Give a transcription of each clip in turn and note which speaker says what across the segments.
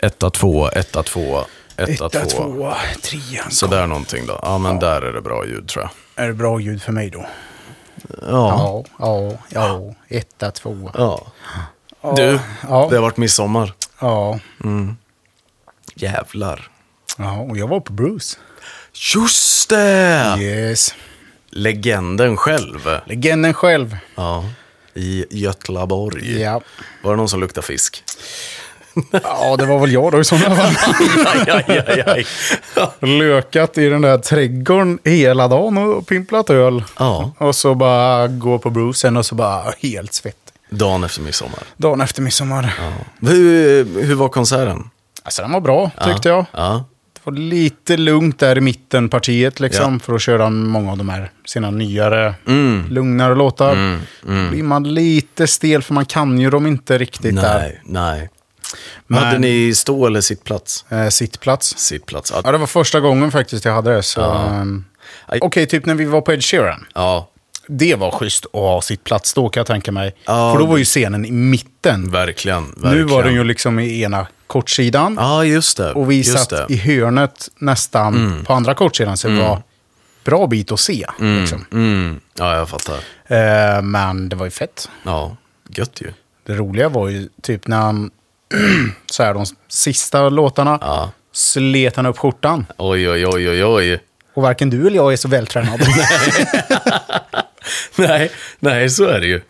Speaker 1: etta, tvåa, etta, tvåa, etta,
Speaker 2: Etta,
Speaker 1: tvåa.
Speaker 2: tvåa, trean.
Speaker 1: Sådär någonting då. Ja, men där är det bra ljud tror jag.
Speaker 2: Är det bra ljud för mig då?
Speaker 1: Ja.
Speaker 2: Ja, ja, ja. Etta, tvåa.
Speaker 1: ja.
Speaker 2: Ja,
Speaker 1: Du,
Speaker 2: ja,
Speaker 1: det har varit midsommar.
Speaker 2: ja.
Speaker 1: Jävlar.
Speaker 2: ja, och jag var på Bruce.
Speaker 1: Just det!
Speaker 2: Yes.
Speaker 1: Legenden själv.
Speaker 2: Legenden själv.
Speaker 1: Ja. I Götlaborg.
Speaker 2: Ja.
Speaker 1: Var det någon som luktade fisk?
Speaker 2: ja, det var väl jag då i sådana fall.
Speaker 1: aj, aj, aj, aj.
Speaker 2: Lökat i den där trädgården hela dagen och pimplat öl.
Speaker 1: Ja.
Speaker 2: Och så bara gå på Bruce sen och så bara helt svett.
Speaker 1: Dagen efter midsommar.
Speaker 2: Dagen efter midsommar.
Speaker 1: Ja. Hur, hur var konserten?
Speaker 2: Alltså den var bra tyckte jag.
Speaker 1: Ja.
Speaker 2: Det var lite lugnt där i mitten partiet liksom.
Speaker 1: Ja. Mm.
Speaker 2: För att köra många av de här sina nyare, lugnare låtar. Då blir man lite stel för man kan ju dem inte riktigt där.
Speaker 1: Nej, nej. Hade ni stå eller sittplats?
Speaker 2: Eh, sittplats.
Speaker 1: Sittplats.
Speaker 2: Ja,
Speaker 1: Ja.
Speaker 2: det var första gången faktiskt jag hade det. Så... ehm,
Speaker 1: Aj.
Speaker 2: Okej, typ när vi var på Ed Sheeran.
Speaker 1: ja,
Speaker 2: Det var schysst att ha sitt plats då kan jag tänka mig.
Speaker 1: Ja.
Speaker 2: För då var ju scenen i mitten.
Speaker 1: verkligen.
Speaker 2: Nu
Speaker 1: verkligen.
Speaker 2: var den ju liksom i ena kortsidan.
Speaker 1: Ja, just det.
Speaker 2: Och vi
Speaker 1: just
Speaker 2: satt
Speaker 1: det. Mm.
Speaker 2: i hörnet nästan på andra kortsidan. Så det var bra bit att se. Liksom.
Speaker 1: Mm. Ja, jag fattar.
Speaker 2: Eh, men det var ju fett.
Speaker 1: Ja, gött ju.
Speaker 2: Det roliga var ju typ när han, så här, de sista låtarna,
Speaker 1: Ja.
Speaker 2: slet han upp skjortan.
Speaker 1: Oj, oj, oj, oj, oj.
Speaker 2: Och varken du eller jag är så vältränad.
Speaker 1: Nej, nej, så är det ju.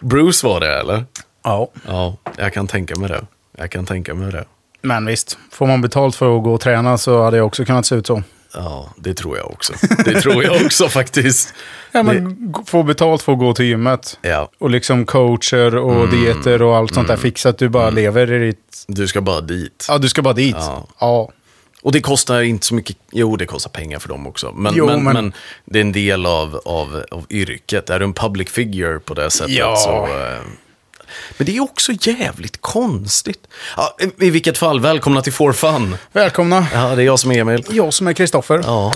Speaker 1: Bruce var det, eller?
Speaker 2: ja.
Speaker 1: Ja, jag kan tänka mig det. Jag kan tänka mig det.
Speaker 2: Men visst, får man betalt för att gå och träna så hade jag också kunnat se ut så.
Speaker 1: Ja, det tror jag också. Det tror jag också faktiskt.
Speaker 2: Ja, men g- få betalt för att gå till gymmet.
Speaker 1: Ja,
Speaker 2: Och liksom coacher och dieter och allt sånt där fixat. Du bara lever i ditt...
Speaker 1: du ska bara dit.
Speaker 2: Ja, du ska bara dit.
Speaker 1: Ja.
Speaker 2: Mm. ja.
Speaker 1: Och det kostar inte så mycket, jo det kostar pengar för dem också. Men,
Speaker 2: Jo,
Speaker 1: men, men...
Speaker 2: men-
Speaker 1: det är en del av, av, av yrket. Är du en public figure på det sättet
Speaker 2: Ja.
Speaker 1: så... Eh... Men det är också jävligt konstigt. Ja, I vilket fall, välkomna till For Fun.
Speaker 2: Välkomna.
Speaker 1: Ja, det är jag som är Emil.
Speaker 2: Jag som är Kristoffer.
Speaker 1: Ja.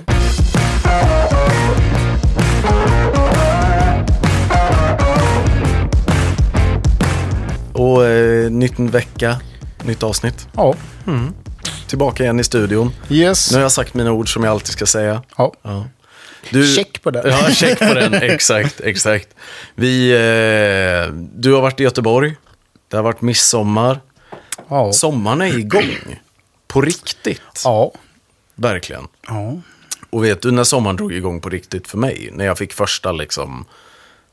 Speaker 1: Och eh, nytt vecka, nytt avsnitt.
Speaker 2: Ja.
Speaker 1: Tillbaka igen i studion.
Speaker 2: Yes.
Speaker 1: Nu har jag sagt mina ord som jag alltid ska säga.
Speaker 2: Ja.
Speaker 1: Du,
Speaker 2: Check på den.
Speaker 1: Ja, check på den. Exakt, exakt. Vi, eh, du har varit i Göteborg. Det har varit midsommar.
Speaker 2: Ja.
Speaker 1: Sommaren är igång. På riktigt.
Speaker 2: Ja.
Speaker 1: Verkligen.
Speaker 2: Ja.
Speaker 1: Och vet du när sommaren drog igång på riktigt för mig? När jag fick första liksom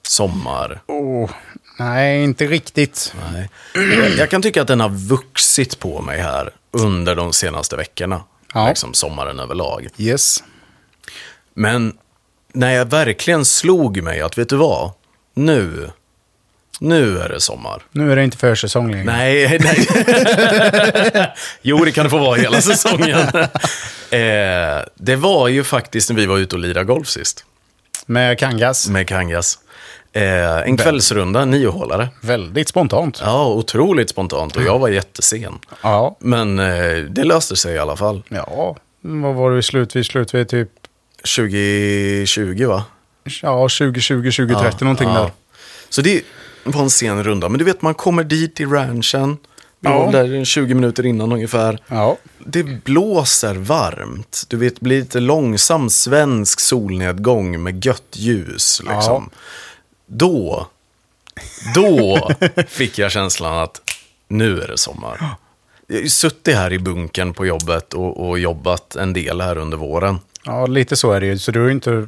Speaker 1: sommar.
Speaker 2: Oh. Nej, inte riktigt.
Speaker 1: Nej. Jag- Jag kan tycka att den har vuxit på mig här under de senaste veckorna.
Speaker 2: Ja.
Speaker 1: Liksom sommaren överlag.
Speaker 2: Yes.
Speaker 1: Men när jag verkligen slog mig att, vet du vad? Nu, nu är det sommar.
Speaker 2: Nu är det inte försäsong längre.
Speaker 1: Nej, nej. jo, det kan det få vara hela säsongen. eh, det var ju faktiskt när vi var ute och lirade golf sist
Speaker 2: Med Kangas.
Speaker 1: med Kangas. Eh, en kvällsrunda, niohålare.
Speaker 2: Väldigt spontant.
Speaker 1: Ja, otroligt spontant och jag var jättesen.
Speaker 2: Ja.
Speaker 1: Men eh, det löste sig i alla fall.
Speaker 2: Ja. Vad var det vi slut vid? Slut vid typ
Speaker 1: 2020 va?
Speaker 2: ja, 2020, 2030 någonting där.
Speaker 1: Så det var en sen runda. Men du vet, man kommer dit i ranchen. Vi
Speaker 2: Ja.
Speaker 1: var där en 20 minuter innan ungefär.
Speaker 2: Ja.
Speaker 1: Det blåser varmt. Du vet, det blir lite långsam svensk solnedgång med gött ljus. Liksom. Då, då fick jag känslan att nu är det sommar. Jag har ju suttit här i bunkern på jobbet och, och jobbat en del här under våren.
Speaker 2: Ja, lite så är det ju. Så du är inte...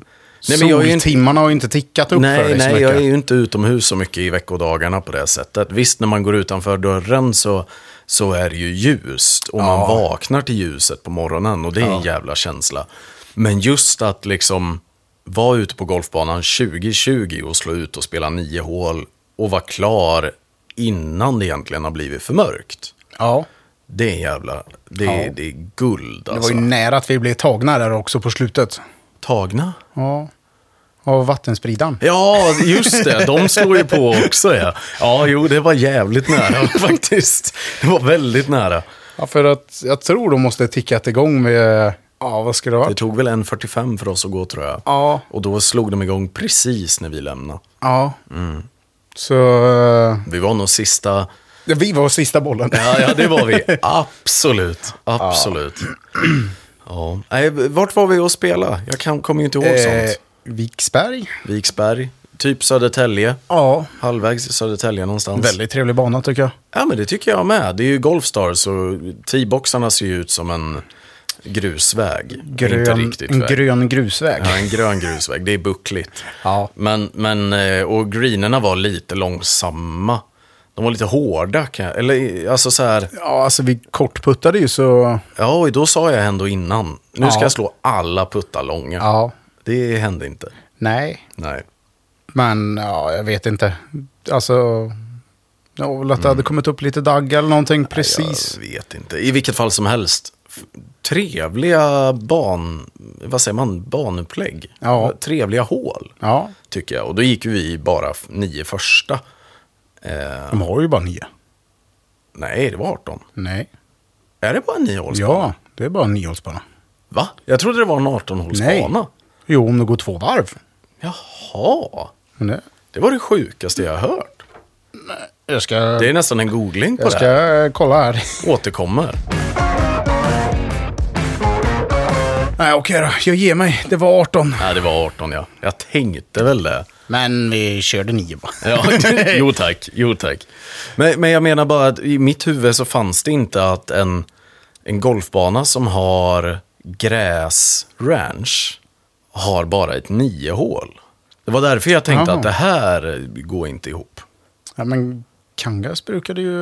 Speaker 1: Nej,
Speaker 2: Nej,
Speaker 1: men jag är ju inte-
Speaker 2: Soltimmarna har ju inte tickat upp för
Speaker 1: Nej,
Speaker 2: dig så
Speaker 1: nej
Speaker 2: mycket.
Speaker 1: jag är ju inte utomhus så mycket i veckodagarna på det sättet. Visst, när man går utanför dörren så, så är det ju ljust och man vaknar till ljuset på morgonen och det är en jävla känsla. Men just att liksom vara ute på golfbanan 2020 och slå ut och spela nio hål och vara klar innan det egentligen har blivit för mörkt.
Speaker 2: Ja.
Speaker 1: Det är jävla, det är, det är guld
Speaker 2: Det var
Speaker 1: alltså.
Speaker 2: ju nära att vi blev tagna där också på slutet.
Speaker 1: Tagna?
Speaker 2: Ja. Av vattenspridan.
Speaker 1: Ja, just det. De slår ju på också. Ja, ja jo, det var jävligt nära faktiskt. Det var väldigt nära.
Speaker 2: Ja, för att jag tror de måste ha tickat igång med... Ja, vad ska det vara?
Speaker 1: Det tog väl 1.45 för oss att gå, tror jag.
Speaker 2: Ja.
Speaker 1: Och då slog de igång precis när vi lämnade.
Speaker 2: Ja. Så... eh,
Speaker 1: Vi var nog sista
Speaker 2: Vi var sista bollen.
Speaker 1: Ja, ja, det var vi. Absolut. Absolut. Ja. Nej, vart var vi och spela? Jag kan, kommer ju inte ihåg
Speaker 2: Eh,
Speaker 1: sånt.
Speaker 2: Viksberg.
Speaker 1: Viksberg, typ Södertälje.
Speaker 2: Ja,
Speaker 1: Halvvägs i Södertälje någonstans.
Speaker 2: väldigt trevlig bana tycker jag.
Speaker 1: Ja, men det tycker jag med. Det är ju Golfstars och T-boxarna ser ju ut som en grusväg. inte
Speaker 2: Grön,
Speaker 1: riktigt
Speaker 2: en
Speaker 1: väg.
Speaker 2: grön grusväg.
Speaker 1: Ja, en grön grusväg. Det är buckligt.
Speaker 2: Ja.
Speaker 1: Men, men, eh, och greenerna var lite långsamma. De var lite hårda, kan jag, eller alltså så här,
Speaker 2: Ja, alltså vi kortputtade ju så...
Speaker 1: ja, och då sa jag ändå innan, nu ska
Speaker 2: Ja.
Speaker 1: jag slå alla puttar långa.
Speaker 2: Ja,
Speaker 1: Det hände inte.
Speaker 2: nej.
Speaker 1: Nej.
Speaker 2: Men ja, jag vet inte. Alltså... Jag var väl att det hade kommit upp lite dagg eller någonting precis.
Speaker 1: Jag vet inte. I vilket fall som helst. f- Trevliga ban... Vad säger man? Banupplägg.
Speaker 2: Ja.
Speaker 1: Trevliga hål,
Speaker 2: Ja,
Speaker 1: tycker jag. Och då gick ju vi bara f- nio första. Eh,
Speaker 2: de har ju bara nio.
Speaker 1: nej, det var 18.
Speaker 2: Nej.
Speaker 1: Är det bara nio hål?
Speaker 2: Ja, det är bara en niohålsbana.
Speaker 1: Va? Jag trodde det var en 18-hålsbana.
Speaker 2: Jo, om det går två varv.
Speaker 1: Jaha.
Speaker 2: Men det,
Speaker 1: Det var det sjukaste jag har hört.
Speaker 2: jag ska,
Speaker 1: Det är nästan en googling på
Speaker 2: jag
Speaker 1: det här.
Speaker 2: ska kolla här.
Speaker 1: Återkommer.
Speaker 2: Nej, okej då. Jag ger mig. Det var 18.
Speaker 1: Nej, det var 18 ja. Jag tänkte väl det.
Speaker 2: Men vi körde nio va?
Speaker 1: Ja, jo tack, jo tack. Men, men jag menar bara att i mitt huvud så fanns det inte att en, en golfbana som har gräsranch har bara ett nio hål. Det var därför jag tänkte
Speaker 2: Jaha.
Speaker 1: att det här går inte ihop.
Speaker 2: Ja, men Kangas brukade ju...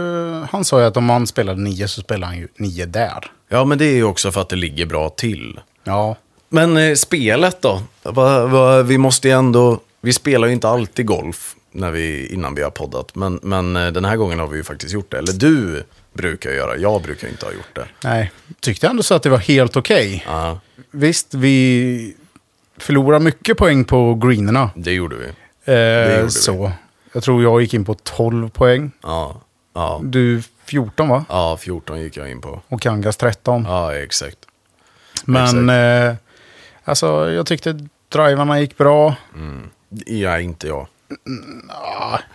Speaker 2: Han sa ju att om man spelade nio så spelade han ju nio där.
Speaker 1: Ja, men det är ju också för att det ligger bra till.
Speaker 2: Ja.
Speaker 1: Men eh, spelet då? Va, va, vi måste ju ändå... Vi spelar ju inte alltid golf när vi, innan vi har poddat. Men, men eh, den här gången har vi ju faktiskt gjort det. Eller du brukar göra, jag brukar ju inte ha gjort det.
Speaker 2: Nej. Tyckte ändå så att det var helt okej.
Speaker 1: Ja,
Speaker 2: Visst, vi förlorade mycket poäng på greenerna.
Speaker 1: det gjorde vi. gjorde
Speaker 2: Eh,
Speaker 1: vi.
Speaker 2: så. Jag tror jag gick in på 12 poäng.
Speaker 1: Ja, ja,
Speaker 2: Du 14 va?
Speaker 1: ja 14 gick jag in på.
Speaker 2: Och Kangas 13.
Speaker 1: Ja, exakt.
Speaker 2: Men eh, alltså, jag tyckte drivarna gick bra.
Speaker 1: Mm. Ja, inte jag.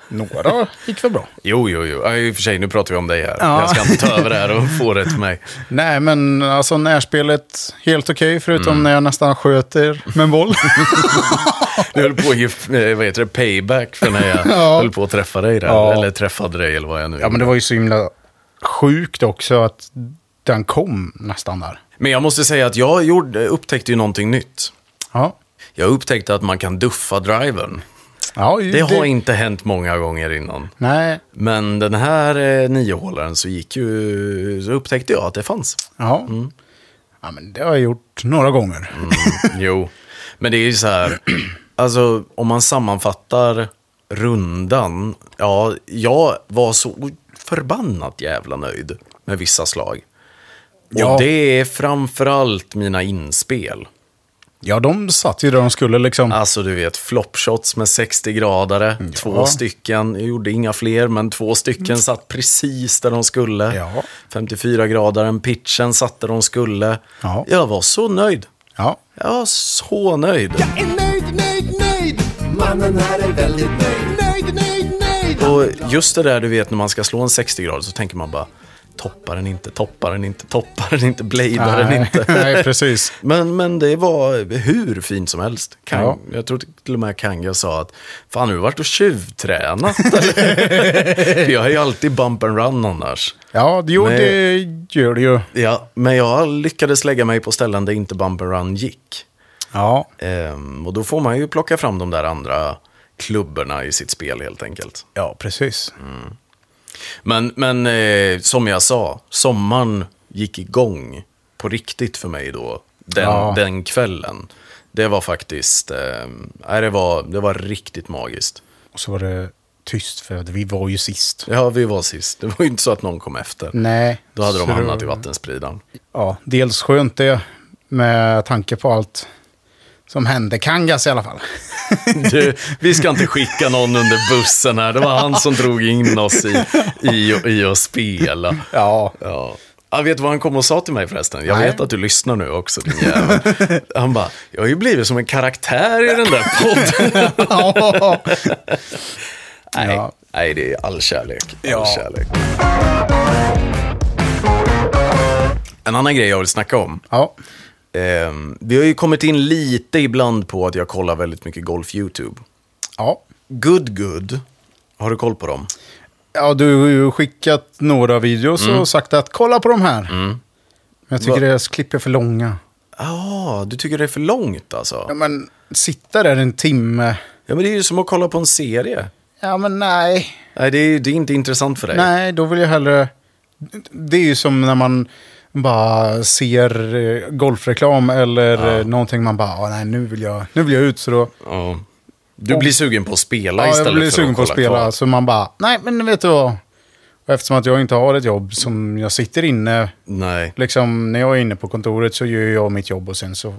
Speaker 2: Några gick väl bra.
Speaker 1: Jo, jo, jo. Ja, I och för sig, nu pratar vi om dig här.
Speaker 2: Ja.
Speaker 1: Jag ska inte ta över det här och få det till mig.
Speaker 2: Nej, men alltså närspelet helt okej, förutom när jag nästan sköter med en boll.
Speaker 1: Du höll på att ge, eh, vad heter det, payback för när jag höll på att träffa dig där.
Speaker 2: Ja.
Speaker 1: Eller träffade dig eller vad jag nu
Speaker 2: ja, men det var ju så himla sjukt också att den kom nästan där.
Speaker 1: Men jag måste säga att jag gjorde, upptäckte ju någonting nytt.
Speaker 2: Ja,
Speaker 1: Jag upptäckte att man kan duffa drivern.
Speaker 2: ja
Speaker 1: Det har inte hänt många gånger innan.
Speaker 2: Nej,
Speaker 1: Men den här eh, niohålaren så gick ju, så upptäckte jag att det fanns.
Speaker 2: ja.
Speaker 1: Mm.
Speaker 2: Ja, men det har jag gjort några gånger.
Speaker 1: Mm, Jo, men det är ju så här, alltså om man sammanfattar rundan, ja, jag var så förbannat jävla nöjd med vissa slag. Och
Speaker 2: Ja.
Speaker 1: det är framförallt mina inspel.
Speaker 2: Ja, de satt ju där de skulle liksom.
Speaker 1: Alltså du vet, flopshots med 60-gradare,
Speaker 2: Mm,
Speaker 1: två stycken. Jag gjorde inga fler, men två stycken satt precis där de skulle.
Speaker 2: Ja.
Speaker 1: 54-gradaren, pitchen satt där de skulle.
Speaker 2: Ja.
Speaker 1: Jag var så nöjd.
Speaker 2: Ja,
Speaker 1: Jag var så nöjd.
Speaker 3: är nöjd, nöjd, nöjd. Mannen här är väldigt nöjd. Nöjd, nöjd, nöjd.
Speaker 1: Och just det där du vet när man ska slå en 60-gradare så tänker man bara toppar den inte, toppar den inte, toppar den inte, bladar den
Speaker 2: nej,
Speaker 1: inte.
Speaker 2: nej, precis.
Speaker 1: Men, men det var hur fint som helst. Kang,
Speaker 2: Ja.
Speaker 1: Jag tror till och med Kanga sa att fan, har du varit och tjuvtränat? eller?" jag har ju alltid bump and run annars.
Speaker 2: Ja, jo,
Speaker 1: Nej.
Speaker 2: det gör det ju.
Speaker 1: Ja, men jag lyckades lägga mig på ställen där inte bump and run gick.
Speaker 2: Ja,
Speaker 1: Ehm, och då får man ju plocka fram de där andra klubborna i sitt spel helt enkelt.
Speaker 2: ja precis.
Speaker 1: Mm. Men, men eh, som jag sa, sommaren gick igång på riktigt för mig då, den,
Speaker 2: Ja.
Speaker 1: den kvällen. Det var faktiskt, eh, nej, det, var, det var riktigt magiskt.
Speaker 2: Och så var det tyst för att vi var ju sist.
Speaker 1: Ja, vi var sist. Det var ju inte så att någon kom efter.
Speaker 2: Nej.
Speaker 1: Då hade de
Speaker 2: så det-
Speaker 1: hamnat i vattenspridaren.
Speaker 2: Ja, dels skönt det med tanke på allt som hände Kangas i alla fall.
Speaker 1: Du, vi ska inte skicka någon under bussen här. Det var han som drog in oss i, i, i att spela.
Speaker 2: Ja.
Speaker 1: Ja. Jag vet du vad han kom och sa till mig förresten? Jag
Speaker 2: Nej.
Speaker 1: vet att du lyssnar nu också, din jävel. Han bara, jag har ju blivit som en karaktär i den där podden.
Speaker 2: ja.
Speaker 1: Nej,
Speaker 2: Ja.
Speaker 1: nej det är all kärlek. All
Speaker 2: Ja.
Speaker 1: kärlek. En annan grej jag vill snacka om.
Speaker 2: Ja,
Speaker 1: Eh, vi har ju kommit in lite ibland på att jag kollar väldigt mycket golf YouTube.
Speaker 2: ja.
Speaker 1: Good Good, har du koll på dem?
Speaker 2: ja du har ju skickat några videos och sagt att kolla på de här. Men jag tycker
Speaker 1: Va-
Speaker 2: deras klipp är för långa.
Speaker 1: Ja, du tycker det är för långt alltså?
Speaker 2: Ja, men sitta där en timme.
Speaker 1: Ja, men det är ju som att kolla på en serie.
Speaker 2: Ja, men nej.
Speaker 1: Nej, det är, det är inte intressant för dig.
Speaker 2: Nej, då vill jag hellre... Det är ju som när man bara ser eh, golfreklam eller eh, någonting man bara, "Ah, nej nu vill jag, nu vill jag ut så då...
Speaker 1: Ja. Du blir sugen på att spela
Speaker 2: Ja,
Speaker 1: istället
Speaker 2: jag blir
Speaker 1: för
Speaker 2: sugen på att
Speaker 1: kolla
Speaker 2: spela alltså.
Speaker 1: kvar.
Speaker 2: så man bara, nej men vet du vad? Och eftersom att jag inte har ett jobb som jag sitter inne,
Speaker 1: Nej.
Speaker 2: liksom när jag är inne på kontoret så gör jag mitt jobb och sen så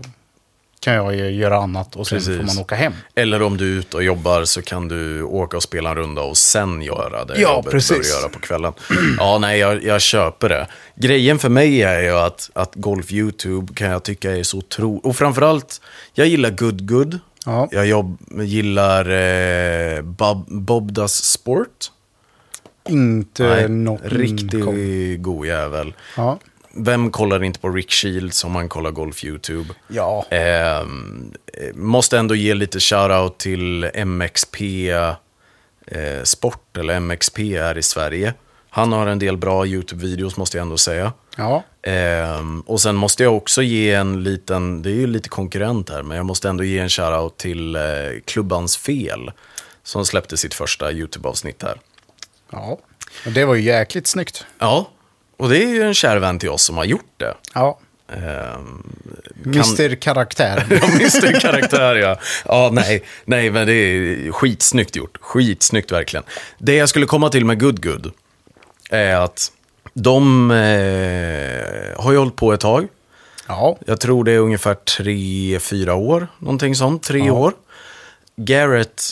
Speaker 2: kan jag ju göra annat och sen
Speaker 1: Precis.
Speaker 2: får man åka hem.
Speaker 1: Eller om du är ute och jobbar så kan du åka och spela en runda och sen göra det
Speaker 2: Ja,
Speaker 1: jobbet
Speaker 2: precis.
Speaker 1: bör göra på kvällen. Ja, nej, jag, jag köper det. Grejen för mig är ju att, att Golf YouTube kan jag tycka är så tro... Och framförallt, jag gillar Good Good.
Speaker 2: Ja.
Speaker 1: Jag jobb, gillar eh, Bob, Bobdas Sport.
Speaker 2: Inte något
Speaker 1: riktigt
Speaker 2: inkom-
Speaker 1: god jävel.
Speaker 2: Ja.
Speaker 1: Vem kollar inte på Rick Shields om man kollar Golf YouTube?
Speaker 2: Ja.
Speaker 1: Ehm, Eh, måste ändå ge lite shoutout till MXP eh, Sport, eller MXP här i Sverige. Han har en del bra YouTube-videos måste jag ändå säga.
Speaker 2: ja.
Speaker 1: Ehm, och sen måste jag också ge en liten, det är ju lite konkurrent här, men jag måste ändå ge en shoutout till eh, Klubbans Fel. Som släppte sitt första YouTube-avsnitt här.
Speaker 2: Ja. Och det var ju jäkligt snyggt.
Speaker 1: Ja, och det är ju en kär vän till oss som har gjort det.
Speaker 2: Ja.
Speaker 1: Ehm,
Speaker 2: Mr Karaktär.
Speaker 1: Ja, Mr Karaktär ja. Ja, nej, nej, men det är skitsnyggt gjort. Skitsnyggt verkligen. Det jag skulle komma till med Good Good är att de eh, har ju hållit på ett tag.
Speaker 2: Ja.
Speaker 1: Jag tror det är ungefär tre, fyra år, någonting sånt. Tre år. Garrett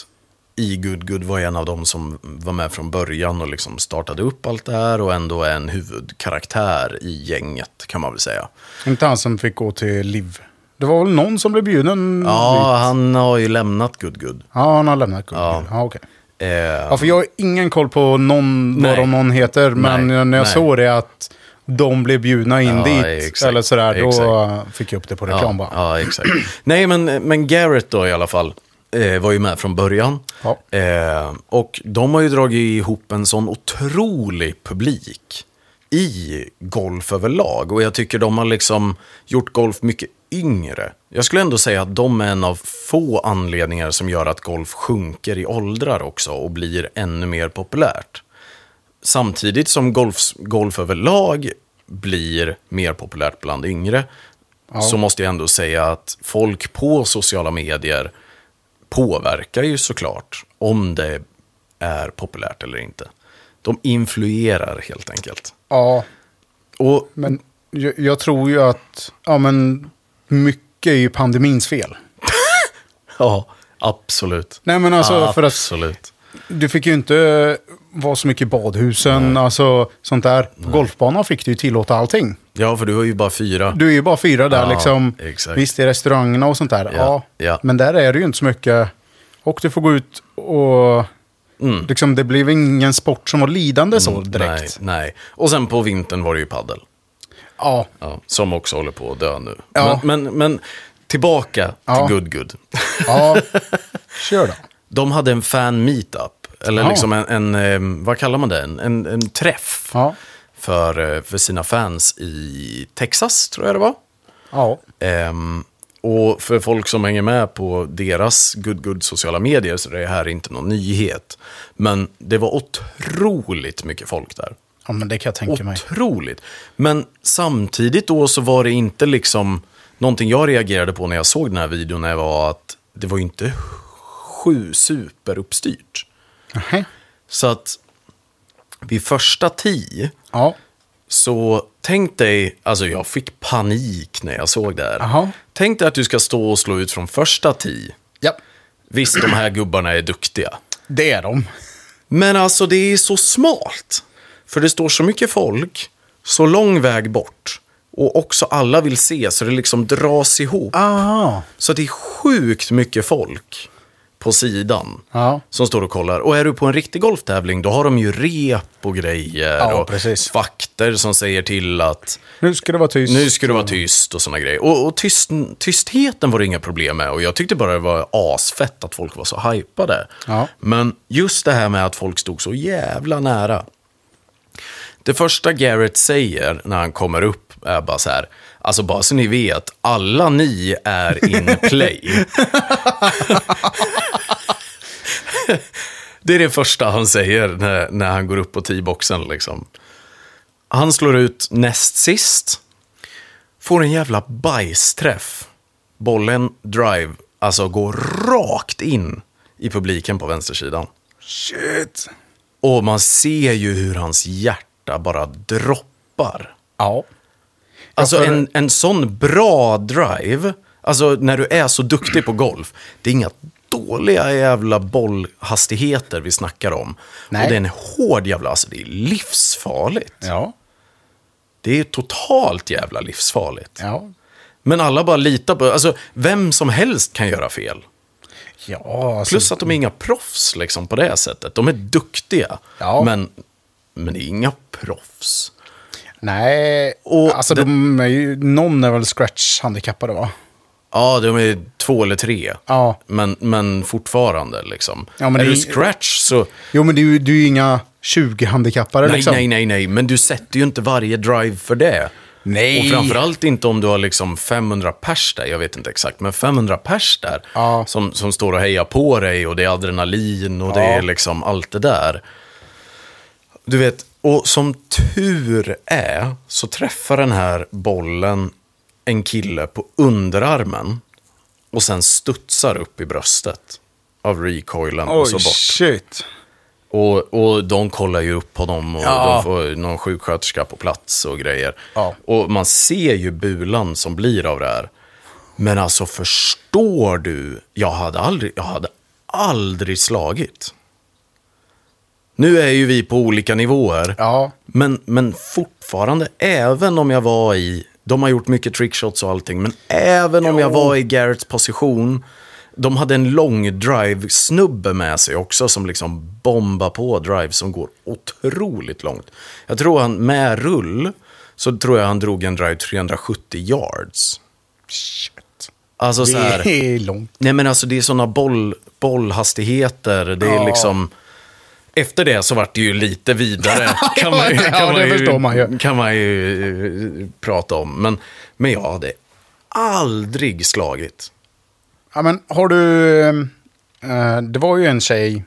Speaker 1: i Good Good var en av dem som var med från början och liksom startade upp allt det här och ändå är en huvudkaraktär i gänget kan man väl säga.
Speaker 2: Inte han som fick gå till LIV. Det var väl någon som blev bjuden?
Speaker 1: Ja, han har ju lämnat Good Good.
Speaker 2: Ja, han har lämnat Kung. Ja, okej.
Speaker 1: Eh,
Speaker 2: Ja, för jag har ingen koll på någon,
Speaker 1: Nej.
Speaker 2: vad de någon heter, men
Speaker 1: Nej,
Speaker 2: när jag
Speaker 1: nej.
Speaker 2: såg det att de blev bjudna in
Speaker 1: Ja,
Speaker 2: dit,
Speaker 1: exakt,
Speaker 2: eller sådär, då
Speaker 1: exakt.
Speaker 2: fick jag upp det på reklam
Speaker 1: ja,
Speaker 2: bara.
Speaker 1: ja, exakt. Nej, men, men Garrett då i alla fall eh, var ju med från början.
Speaker 2: Ja.
Speaker 1: Eh, och de har ju dragit ihop en sån otrolig publik i golf överlag. Och jag tycker de har liksom gjort golf mycket yngre. Jag skulle ändå säga att de är en av få anledningar som gör att golf sjunker i åldrar också och blir ännu mer populärt. Samtidigt som golf, golf överlag blir mer populärt bland yngre så måste jag ändå säga att folk på sociala medier påverkar ju såklart om det är populärt eller inte. De influerar helt enkelt.
Speaker 2: Ja,
Speaker 1: Och
Speaker 2: men jag, jag tror ju att, ja men, mycket är ju pandemins fel.
Speaker 1: ja, absolut.
Speaker 2: Nej men alltså, för att
Speaker 1: absolut.
Speaker 2: du fick ju inte eh, vara så mycket i badhusen, alltså sånt där. På golfbanan fick du ju tillåta allting.
Speaker 1: Ja, för du har ju bara fyra.
Speaker 2: Du är ju bara fyra där
Speaker 1: Ja,
Speaker 2: liksom.
Speaker 1: exakt.
Speaker 2: Visst, i restaurangerna och sånt där. Ja,
Speaker 1: ja.
Speaker 2: Men där är det ju inte så mycket. Och du får gå ut och...
Speaker 1: Mm.
Speaker 2: Liksom, det blev ingen sport som var lidande så direkt.
Speaker 1: Nej, nej. Och sen på vintern var det ju paddel.
Speaker 2: Ja,
Speaker 1: Ja, som också håller på att dö nu.
Speaker 2: Ja.
Speaker 1: Men, men, men tillbaka till
Speaker 2: Ja.
Speaker 1: Good Good.
Speaker 2: ja. Kör då.
Speaker 1: De hade en fan meetup, eller
Speaker 2: Ja.
Speaker 1: liksom en, en, eh, vad kallar man det, en, en, en träff
Speaker 2: Ja.
Speaker 1: för, eh, för sina fans i Texas, tror jag det var.
Speaker 2: Ja.
Speaker 1: Ehm, och för folk som hänger med på deras good good sociala medier så är det här inte någon nyhet. Men det var otroligt mycket folk där.
Speaker 2: ja, men det kan jag tänka mig.
Speaker 1: Otroligt. Men samtidigt då så var det inte liksom... Någonting jag reagerade på när jag såg den här videon är var att det var ju inte sju superuppstyrt.
Speaker 2: Nähä.
Speaker 1: Så att vid första tio
Speaker 2: Ja.
Speaker 1: så tänk dig, alltså jag fick panik när jag såg det här.
Speaker 2: Jaha.
Speaker 1: Tänk dig att du ska stå och slå ut från första tio.
Speaker 2: ja,
Speaker 1: Visst, de här gubbarna är duktiga.
Speaker 2: det är de.
Speaker 1: Men alltså det är så smalt. För det står så mycket folk, så lång väg bort. Och också alla vill
Speaker 2: Ah.
Speaker 1: se, så det liksom dras ihop.
Speaker 2: Aha.
Speaker 1: Så det är sjukt mycket folk på sidan.
Speaker 2: Ja.
Speaker 1: Som står och kollar. Och är du på en riktig golftävling, då har de ju rep och grejer.
Speaker 2: Ja,
Speaker 1: och
Speaker 2: precis.
Speaker 1: vakter som säger till att
Speaker 2: Nu ska det vara tyst.
Speaker 1: nu ska du vara tyst och sådana grejer. Och, och tyst, tystheten var det inga problem med. Och jag tyckte bara det var asfett att folk var så hypade.
Speaker 2: Ja.
Speaker 1: Men just det här med att folk stod så jävla nära. Det första Garrett säger när han kommer upp är bara så här. Alltså bara så ni vet, alla ni är in play. det är det första han säger när, när han går upp på tee-boxen liksom. Han slår ut näst sist. Får en jävla bajsträff. Bollen, drive, alltså går rakt in i publiken på vänstersidan.
Speaker 2: Shit.
Speaker 1: Och man ser ju hur hans hjärta bara droppar.
Speaker 2: Ja.
Speaker 1: Alltså
Speaker 2: för-
Speaker 1: en, en sån bra drive, alltså när du är så duktig på golf, det är inga dåliga jävla bollhastigheter vi snackar om.
Speaker 2: Nej.
Speaker 1: Och det är en hård jävla, alltså det är livsfarligt.
Speaker 2: Ja.
Speaker 1: Det är totalt jävla livsfarligt.
Speaker 2: Ja.
Speaker 1: Men alla bara litar på, alltså vem som helst kan göra fel.
Speaker 2: Ja, alltså,
Speaker 1: Plus att de är inga proffs liksom på det sättet. De är duktiga,
Speaker 2: Ja.
Speaker 1: men, men det är inga proffs.
Speaker 2: nej.
Speaker 1: Och
Speaker 2: alltså,
Speaker 1: det-
Speaker 2: de är ju, någon är väl scratch-handikappade va?
Speaker 1: Ja, de är två eller tre.
Speaker 2: Ja.
Speaker 1: Men, men fortfarande liksom.
Speaker 2: Ja, men
Speaker 1: är
Speaker 2: det-
Speaker 1: du scratch så...
Speaker 2: Jo, men du, du är ju inga 20-handikappade
Speaker 1: Nej,
Speaker 2: liksom.
Speaker 1: nej, nej, nej. Men du sätter ju inte varje drive för det.
Speaker 2: Nej.
Speaker 1: Och framförallt inte om du har liksom 500 pers där, jag vet inte exakt, men 500 pers där.
Speaker 2: Ja.
Speaker 1: Som, som står och hejar på dig och det är adrenalin och det
Speaker 2: Ja.
Speaker 1: är liksom allt det där. Du vet, och som tur är så träffar den här bollen en kille på underarmen och sen studsar upp i bröstet av recoilen och så
Speaker 2: Oj,
Speaker 1: bort.
Speaker 2: shit.
Speaker 1: Och, och de kollar ju upp på dem och
Speaker 2: Ja.
Speaker 1: de får någon sjuksköterska på plats och grejer.
Speaker 2: Ja.
Speaker 1: Och man ser ju bulan som blir av det här. Men alltså förstår du, jag hade aldrig, jag hade aldrig slagit. Nu är ju vi på olika nivåer.
Speaker 2: Ja.
Speaker 1: Men, men fortfarande, även om jag var i, de har gjort mycket trickshots och allting, men även om jag var i Garretts position, de hade en lång drive-snubbe med sig också som liksom bombar på drive som går otroligt långt. Jag tror han, med rull, så tror jag han drog en drive 370 yards.
Speaker 2: Shit.
Speaker 1: Alltså så här,
Speaker 2: Det är långt.
Speaker 1: nej men alltså det är sådana boll, bollhastigheter, det är
Speaker 2: Ja.
Speaker 1: liksom... Efter det så vart det ju lite vidare. Kan man ju,
Speaker 2: Ja,
Speaker 1: kan
Speaker 2: det
Speaker 1: man ju,
Speaker 2: förstår man ju.
Speaker 1: Kan man ju eh, prata om. Men, men jag hade aldrig slagit.
Speaker 2: Ja, men har du... eh, det var ju en tjej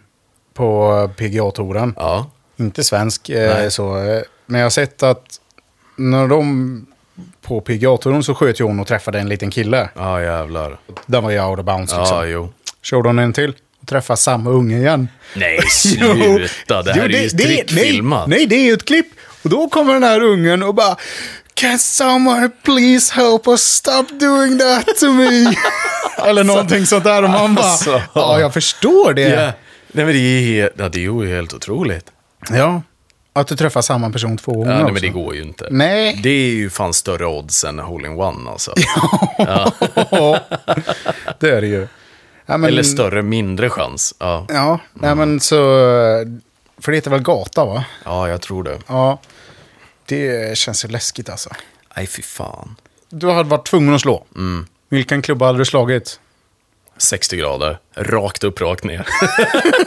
Speaker 2: på PGA-touren.
Speaker 1: Ja.
Speaker 2: Inte svensk, eh,
Speaker 1: Nej.
Speaker 2: så, eh, men jag har sett att när de på PGA-touren så sköt ju hon och träffade en liten kille.
Speaker 1: Ja, jävlar.
Speaker 2: Den var ju out of bounds. Liksom.
Speaker 1: Ja, jo.
Speaker 2: Körde hon en till och träffade samma unge igen.
Speaker 1: Nej, sluta. Det här
Speaker 2: Jo,
Speaker 1: är ju trickfilmat.
Speaker 2: Nej, nej, det är ju ett klipp. Och då kommer den här ungen och bara Can someone please help us stop doing that to me? Eller någonting sånt där. Och man bara,
Speaker 1: Alltså.
Speaker 2: ja, jag förstår det.
Speaker 1: Ja. Nej, men det är, ju- ja, det är ju helt otroligt.
Speaker 2: Ja, att du träffar samma person två gånger
Speaker 1: Ja, nej,
Speaker 2: Mm, också.
Speaker 1: men det går ju inte.
Speaker 2: Nej.
Speaker 1: Det är ju fan större odds än hole-in-one alltså.
Speaker 2: Ja, det är det ju. Ja, men,
Speaker 1: Eller större, mindre chans. Ja.
Speaker 2: Ja, nej men så... För det heter väl gata va?
Speaker 1: ja, jag tror det.
Speaker 2: Ja. Det känns ju läskigt alltså.
Speaker 1: Nej, fy fan.
Speaker 2: Du hade varit tvungen att slå.
Speaker 1: Mm.
Speaker 2: Vilken klubba hade du slagit?
Speaker 1: 60 grader, rakt upp, rakt ner.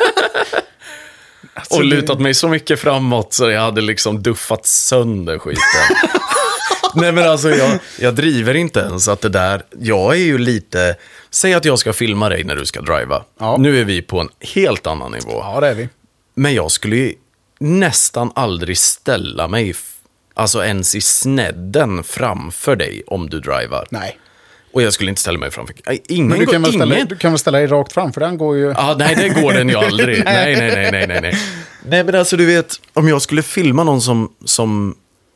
Speaker 2: Alltså,
Speaker 1: Och
Speaker 2: det-
Speaker 1: lutat mig så mycket framåt så jag hade liksom duffat sönder skiten. Nej men alltså jag, jag driver inte ens att det där, jag är ju lite, säg att jag ska filma dig när du ska driva.
Speaker 2: Ja.
Speaker 1: Nu är vi på en helt annan nivå.
Speaker 2: Ja, det är vi.
Speaker 1: Men jag skulle ju nästan aldrig ställa mig, f- alltså ens i snedden framför dig om du drivar.
Speaker 2: Nej.
Speaker 1: Och jag skulle inte ställa mig framför, Nej, ingen,
Speaker 2: Men du
Speaker 1: går-
Speaker 2: kan, väl ställa,
Speaker 1: ingen
Speaker 2: du kan väl ställa dig rakt fram, för den går ju...
Speaker 1: Ja, nej, det går den ju aldrig. nej, nej, nej, nej, nej, nej. Nej, men alltså du vet, om jag skulle filma någon som, som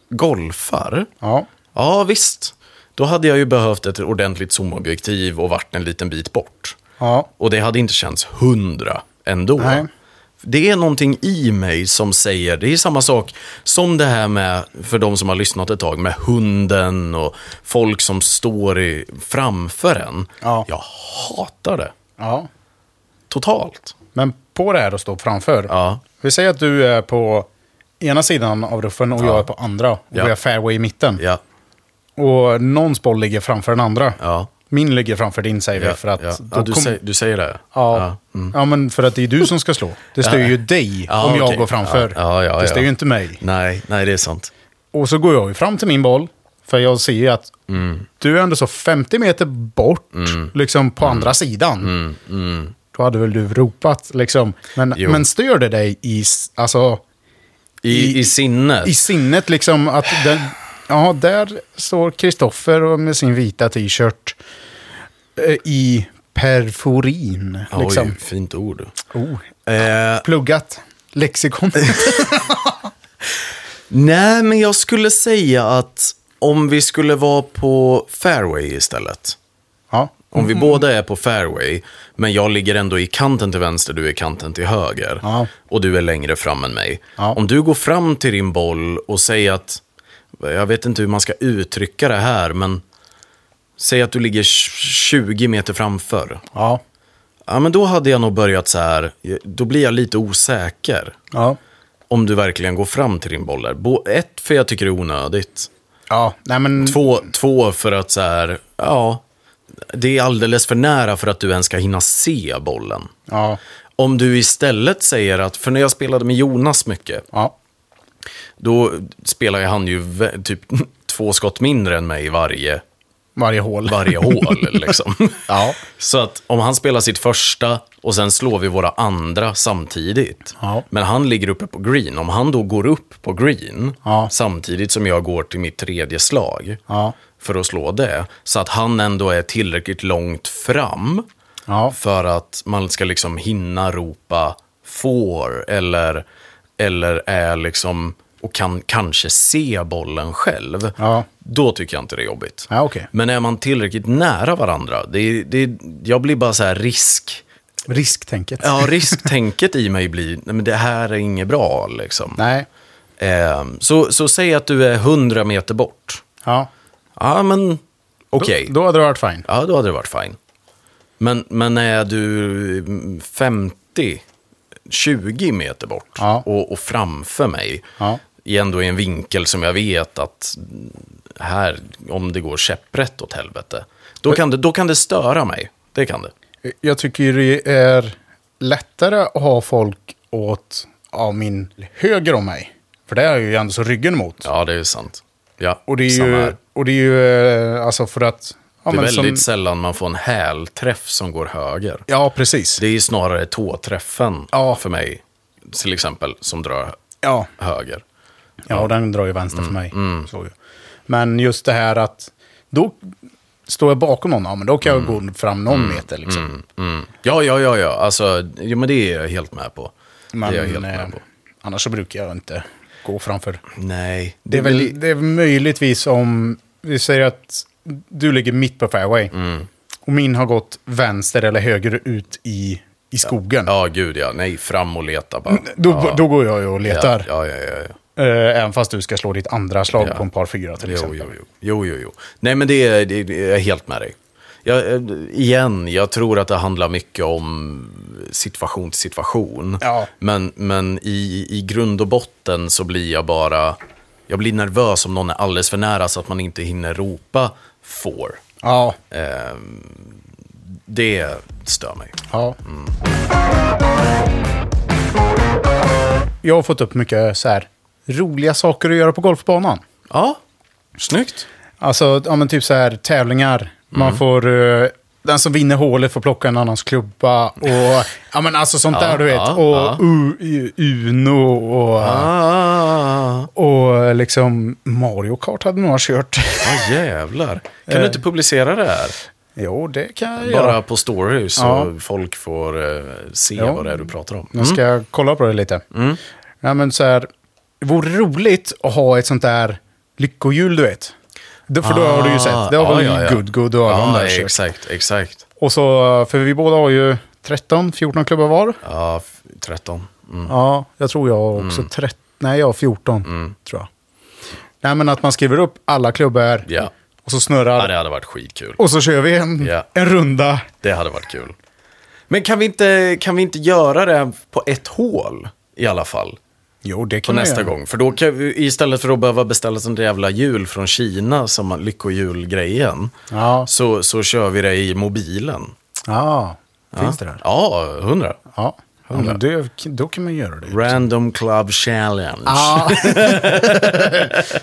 Speaker 1: golfar,
Speaker 2: Ja.
Speaker 1: ja visst, då hade jag ju behövt ett ordentligt zoomobjektiv och varit en liten bit bort.
Speaker 2: Ja.
Speaker 1: Och det hade inte känts hundra ändå.
Speaker 2: Nej.
Speaker 1: Det är någonting i mig som säger, det är samma sak som det här med, för de som har lyssnat ett tag, med hunden och folk som står i, framför en.
Speaker 2: Ja.
Speaker 1: Jag hatar det.
Speaker 2: Ja.
Speaker 1: totalt.
Speaker 2: Men på det här att stå framför.
Speaker 1: Ja.
Speaker 2: Vi säger att du är på ena sidan av ruffen och jag är på andra. Och
Speaker 1: Ja.
Speaker 2: vi har fairway i mitten.
Speaker 1: Ja,
Speaker 2: Och någons boll ligger framför den andra.
Speaker 1: ja.
Speaker 2: Min ligger framför din säger
Speaker 1: ja,
Speaker 2: vi. För att
Speaker 1: ja.
Speaker 2: då
Speaker 1: ja du,
Speaker 2: kom-
Speaker 1: säger, du säger det?
Speaker 2: Ja.
Speaker 1: ja. Mm.
Speaker 2: ja, men för att det är du som ska slå. Det styr ju dig
Speaker 1: Ja,
Speaker 2: om jag
Speaker 1: okej.
Speaker 2: går framför.
Speaker 1: Ja, ja, ja,
Speaker 2: det styr
Speaker 1: ja.
Speaker 2: ju inte mig.
Speaker 1: Nej, nej, det är sant.
Speaker 2: Och så går jag ju fram till min boll. För jag ser ju att
Speaker 1: Mm.
Speaker 2: du är ändå så 50 meter bort, liksom
Speaker 1: Mm.
Speaker 2: på andra sidan. Då hade väl du ropat liksom. Men,
Speaker 1: Jo.
Speaker 2: men stör det dig i, s- alltså,
Speaker 1: I,
Speaker 2: I-
Speaker 1: i sinnet?
Speaker 2: i sinnet liksom att den, ja, där står Kristoffer och med sin vita t-shirt eh, i perforin. Liksom.
Speaker 1: Oj, fint ord.
Speaker 2: Oh.
Speaker 1: Eh,
Speaker 2: Pluggat lexikon.
Speaker 1: nej, men jag skulle säga att om vi skulle vara på fairway istället.
Speaker 2: ja.
Speaker 1: Om vi båda är på fairway, men jag ligger ändå i kanten till vänster, du är i kanten till höger.
Speaker 2: Ja.
Speaker 1: Och du är längre fram än mig.
Speaker 2: Ja.
Speaker 1: Om du går fram till din boll och säger att, jag vet inte hur man ska uttrycka det här, men säg att du ligger 20 meter framför.
Speaker 2: Ja.
Speaker 1: Ja, men då hade jag nog börjat så här, då blir jag lite osäker.
Speaker 2: Ja.
Speaker 1: Om du verkligen går fram till din boll där. Bo- Ett, för jag tycker det är onödigt.
Speaker 2: Ja, nej men...
Speaker 1: Två, två för att så här, ja, det är alldeles för nära för att du ens ska hinna se bollen.
Speaker 2: Ja.
Speaker 1: Om du istället säger att, för när jag spelade med Jonas mycket,
Speaker 2: Ja.
Speaker 1: då spelade han ju vä- typ två skott mindre än mig varje,
Speaker 2: Varje hål.
Speaker 1: varje hål. Liksom.
Speaker 2: Ja.
Speaker 1: Så att om han spelar sitt första och sen slår vi våra andra samtidigt.
Speaker 2: Ja.
Speaker 1: Men han ligger uppe på green. Om han då går upp på green
Speaker 2: Ja.
Speaker 1: samtidigt som jag går till mitt tredje slag
Speaker 2: Ja.
Speaker 1: för att slå det. Så att han ändå är tillräckligt långt fram
Speaker 2: Ja.
Speaker 1: för att man ska liksom hinna ropa får eller, eller är liksom och kan kanske se bollen själv.
Speaker 2: Ja.
Speaker 1: Då tycker jag inte det är jobbigt.
Speaker 2: Ja, okej.
Speaker 1: Men är man tillräckligt nära varandra, det, är- det, är- jag blir bara så här risk.
Speaker 2: Risktänket.
Speaker 1: Ja, risktänket i mig blir, nej men det här är inget bra liksom.
Speaker 2: Nej.
Speaker 1: Ehm, så, så säg att du är 100 meter bort.
Speaker 2: Ja.
Speaker 1: Ja, men okej.
Speaker 2: Då, då hade det varit fine.
Speaker 1: Ja, då hade det varit fine. Men, men är du mm, 50, 20 meter bort
Speaker 2: Ja.
Speaker 1: och, och framför mig,
Speaker 2: Ja.
Speaker 1: i ändå i en vinkel som jag vet att mm, här, om det går käpprätt åt helvete, då kan det, då kan det störa mig. Det kan det.
Speaker 2: Jag tycker ju det är lättare att ha folk åt ja, min höger om mig. För det är jag ju ändå så ryggen mot.
Speaker 1: Ja, det är sant. Ja,
Speaker 2: Och det är
Speaker 1: samma
Speaker 2: ju,
Speaker 1: här.
Speaker 2: och det är ju eh, alltså för att... Ja,
Speaker 1: Det är
Speaker 2: men som-
Speaker 1: väldigt sällan man får en hälträff som går höger.
Speaker 2: ja precis.
Speaker 1: Det är ju snarare tåträffen
Speaker 2: Ja.
Speaker 1: för mig, till exempel, som drar
Speaker 2: Ja.
Speaker 1: höger.
Speaker 2: Ja, och den drar ju vänster
Speaker 1: Mm,
Speaker 2: för mig. Så ju. Men just det här att då står jag bakom någon, ja, men då kan jag
Speaker 1: Mm.
Speaker 2: gå fram någon meter. Liksom.
Speaker 1: Ja, ja, ja, ja. Alltså, jo, men det är jag helt med på.
Speaker 2: Men
Speaker 1: det är jag helt
Speaker 2: eh,
Speaker 1: med på.
Speaker 2: annars så brukar jag inte gå framför.
Speaker 1: Nej.
Speaker 2: Det är, väl, det är möjligtvis om, vi säger att du ligger mitt på fairway.
Speaker 1: Mm.
Speaker 2: Och min har gått vänster eller höger ut i, i skogen.
Speaker 1: Ja, gud ja. Nej, fram och leta bara.
Speaker 2: Då,
Speaker 1: ja.
Speaker 2: då går jag ju och letar.
Speaker 1: Ja, ja, ja. ja.
Speaker 2: Eh, även fast du ska slå ditt andra slag på en par fyra till
Speaker 1: Jo,
Speaker 2: exempel.
Speaker 1: jo, jo. jo, jo, jo. Nej, men det är, det är, jag är helt med dig. Jag, eh, igen, jag tror att det handlar mycket om situation till situation.
Speaker 2: Ja.
Speaker 1: Men, men i, i grund och botten så blir jag bara... Jag blir nervös om någon är alldeles för nära så att man inte hinner ropa får.
Speaker 2: Ja,
Speaker 1: Det stör mig.
Speaker 2: Ja.
Speaker 1: Mm.
Speaker 2: Jag har fått upp mycket så här roliga saker att göra på golfbanan.
Speaker 1: Ja, snyggt.
Speaker 2: Alltså, ja, men typ så här tävlingar.
Speaker 1: Mm.
Speaker 2: Man får... eh, den som vinner hålet får plocka en annans klubba och... Ja, men alltså sånt där du vet.
Speaker 1: ja,
Speaker 2: och
Speaker 1: ja.
Speaker 2: U- Uno och...
Speaker 1: Ah,
Speaker 2: Och liksom Mario Kart hade några kört.
Speaker 1: ah, jävlar. Kan du
Speaker 2: Eh.
Speaker 1: inte publicera det här?
Speaker 2: jo, det kan jag
Speaker 1: Bara
Speaker 2: göra.
Speaker 1: på story så
Speaker 2: Ja.
Speaker 1: folk får eh, se
Speaker 2: Ja. Mm.
Speaker 1: vad det är du pratar om.
Speaker 2: Nu ska jag kolla på det lite.
Speaker 1: Mm.
Speaker 2: Ja, men så här, det vore roligt att ha ett sånt där lyckohjul, du vet. Då- För då har du ju sett. Det har
Speaker 1: Ah,
Speaker 2: väl
Speaker 1: ja, ja.
Speaker 2: Good Good och alla de
Speaker 1: Ja,
Speaker 2: där kört.
Speaker 1: exakt, exakt.
Speaker 2: Och så, för vi båda har ju 13-14 klubbar var.
Speaker 1: Ja, f- 13. Mm. Mm.
Speaker 2: Ja, jag tror jag har också 13. Nej, jag har 14, tror jag. Nej, men att man skriver upp alla klubbar
Speaker 1: Ja.
Speaker 2: och så
Speaker 1: ja,
Speaker 2: snurrar.
Speaker 1: det hade varit skitkul.
Speaker 2: och så kör vi en,
Speaker 1: Ja.
Speaker 2: en runda.
Speaker 1: Det hade varit kul. Men kan vi, inte, kan vi inte göra det på ett hål i alla fall?
Speaker 2: Jo, det
Speaker 1: På
Speaker 2: kan man
Speaker 1: nästa
Speaker 2: göra.
Speaker 1: gång. För då kan vi, istället för att behöva beställa sånt jävla hjul från Kina, som lyckohjulgrejen,
Speaker 2: Ja.
Speaker 1: så, så kör vi det i mobilen.
Speaker 2: Ja, finns det där?
Speaker 1: Ja, hundra.
Speaker 2: Ja, ja men det, då kan man göra det.
Speaker 1: Random Club Challenge.
Speaker 2: Ja.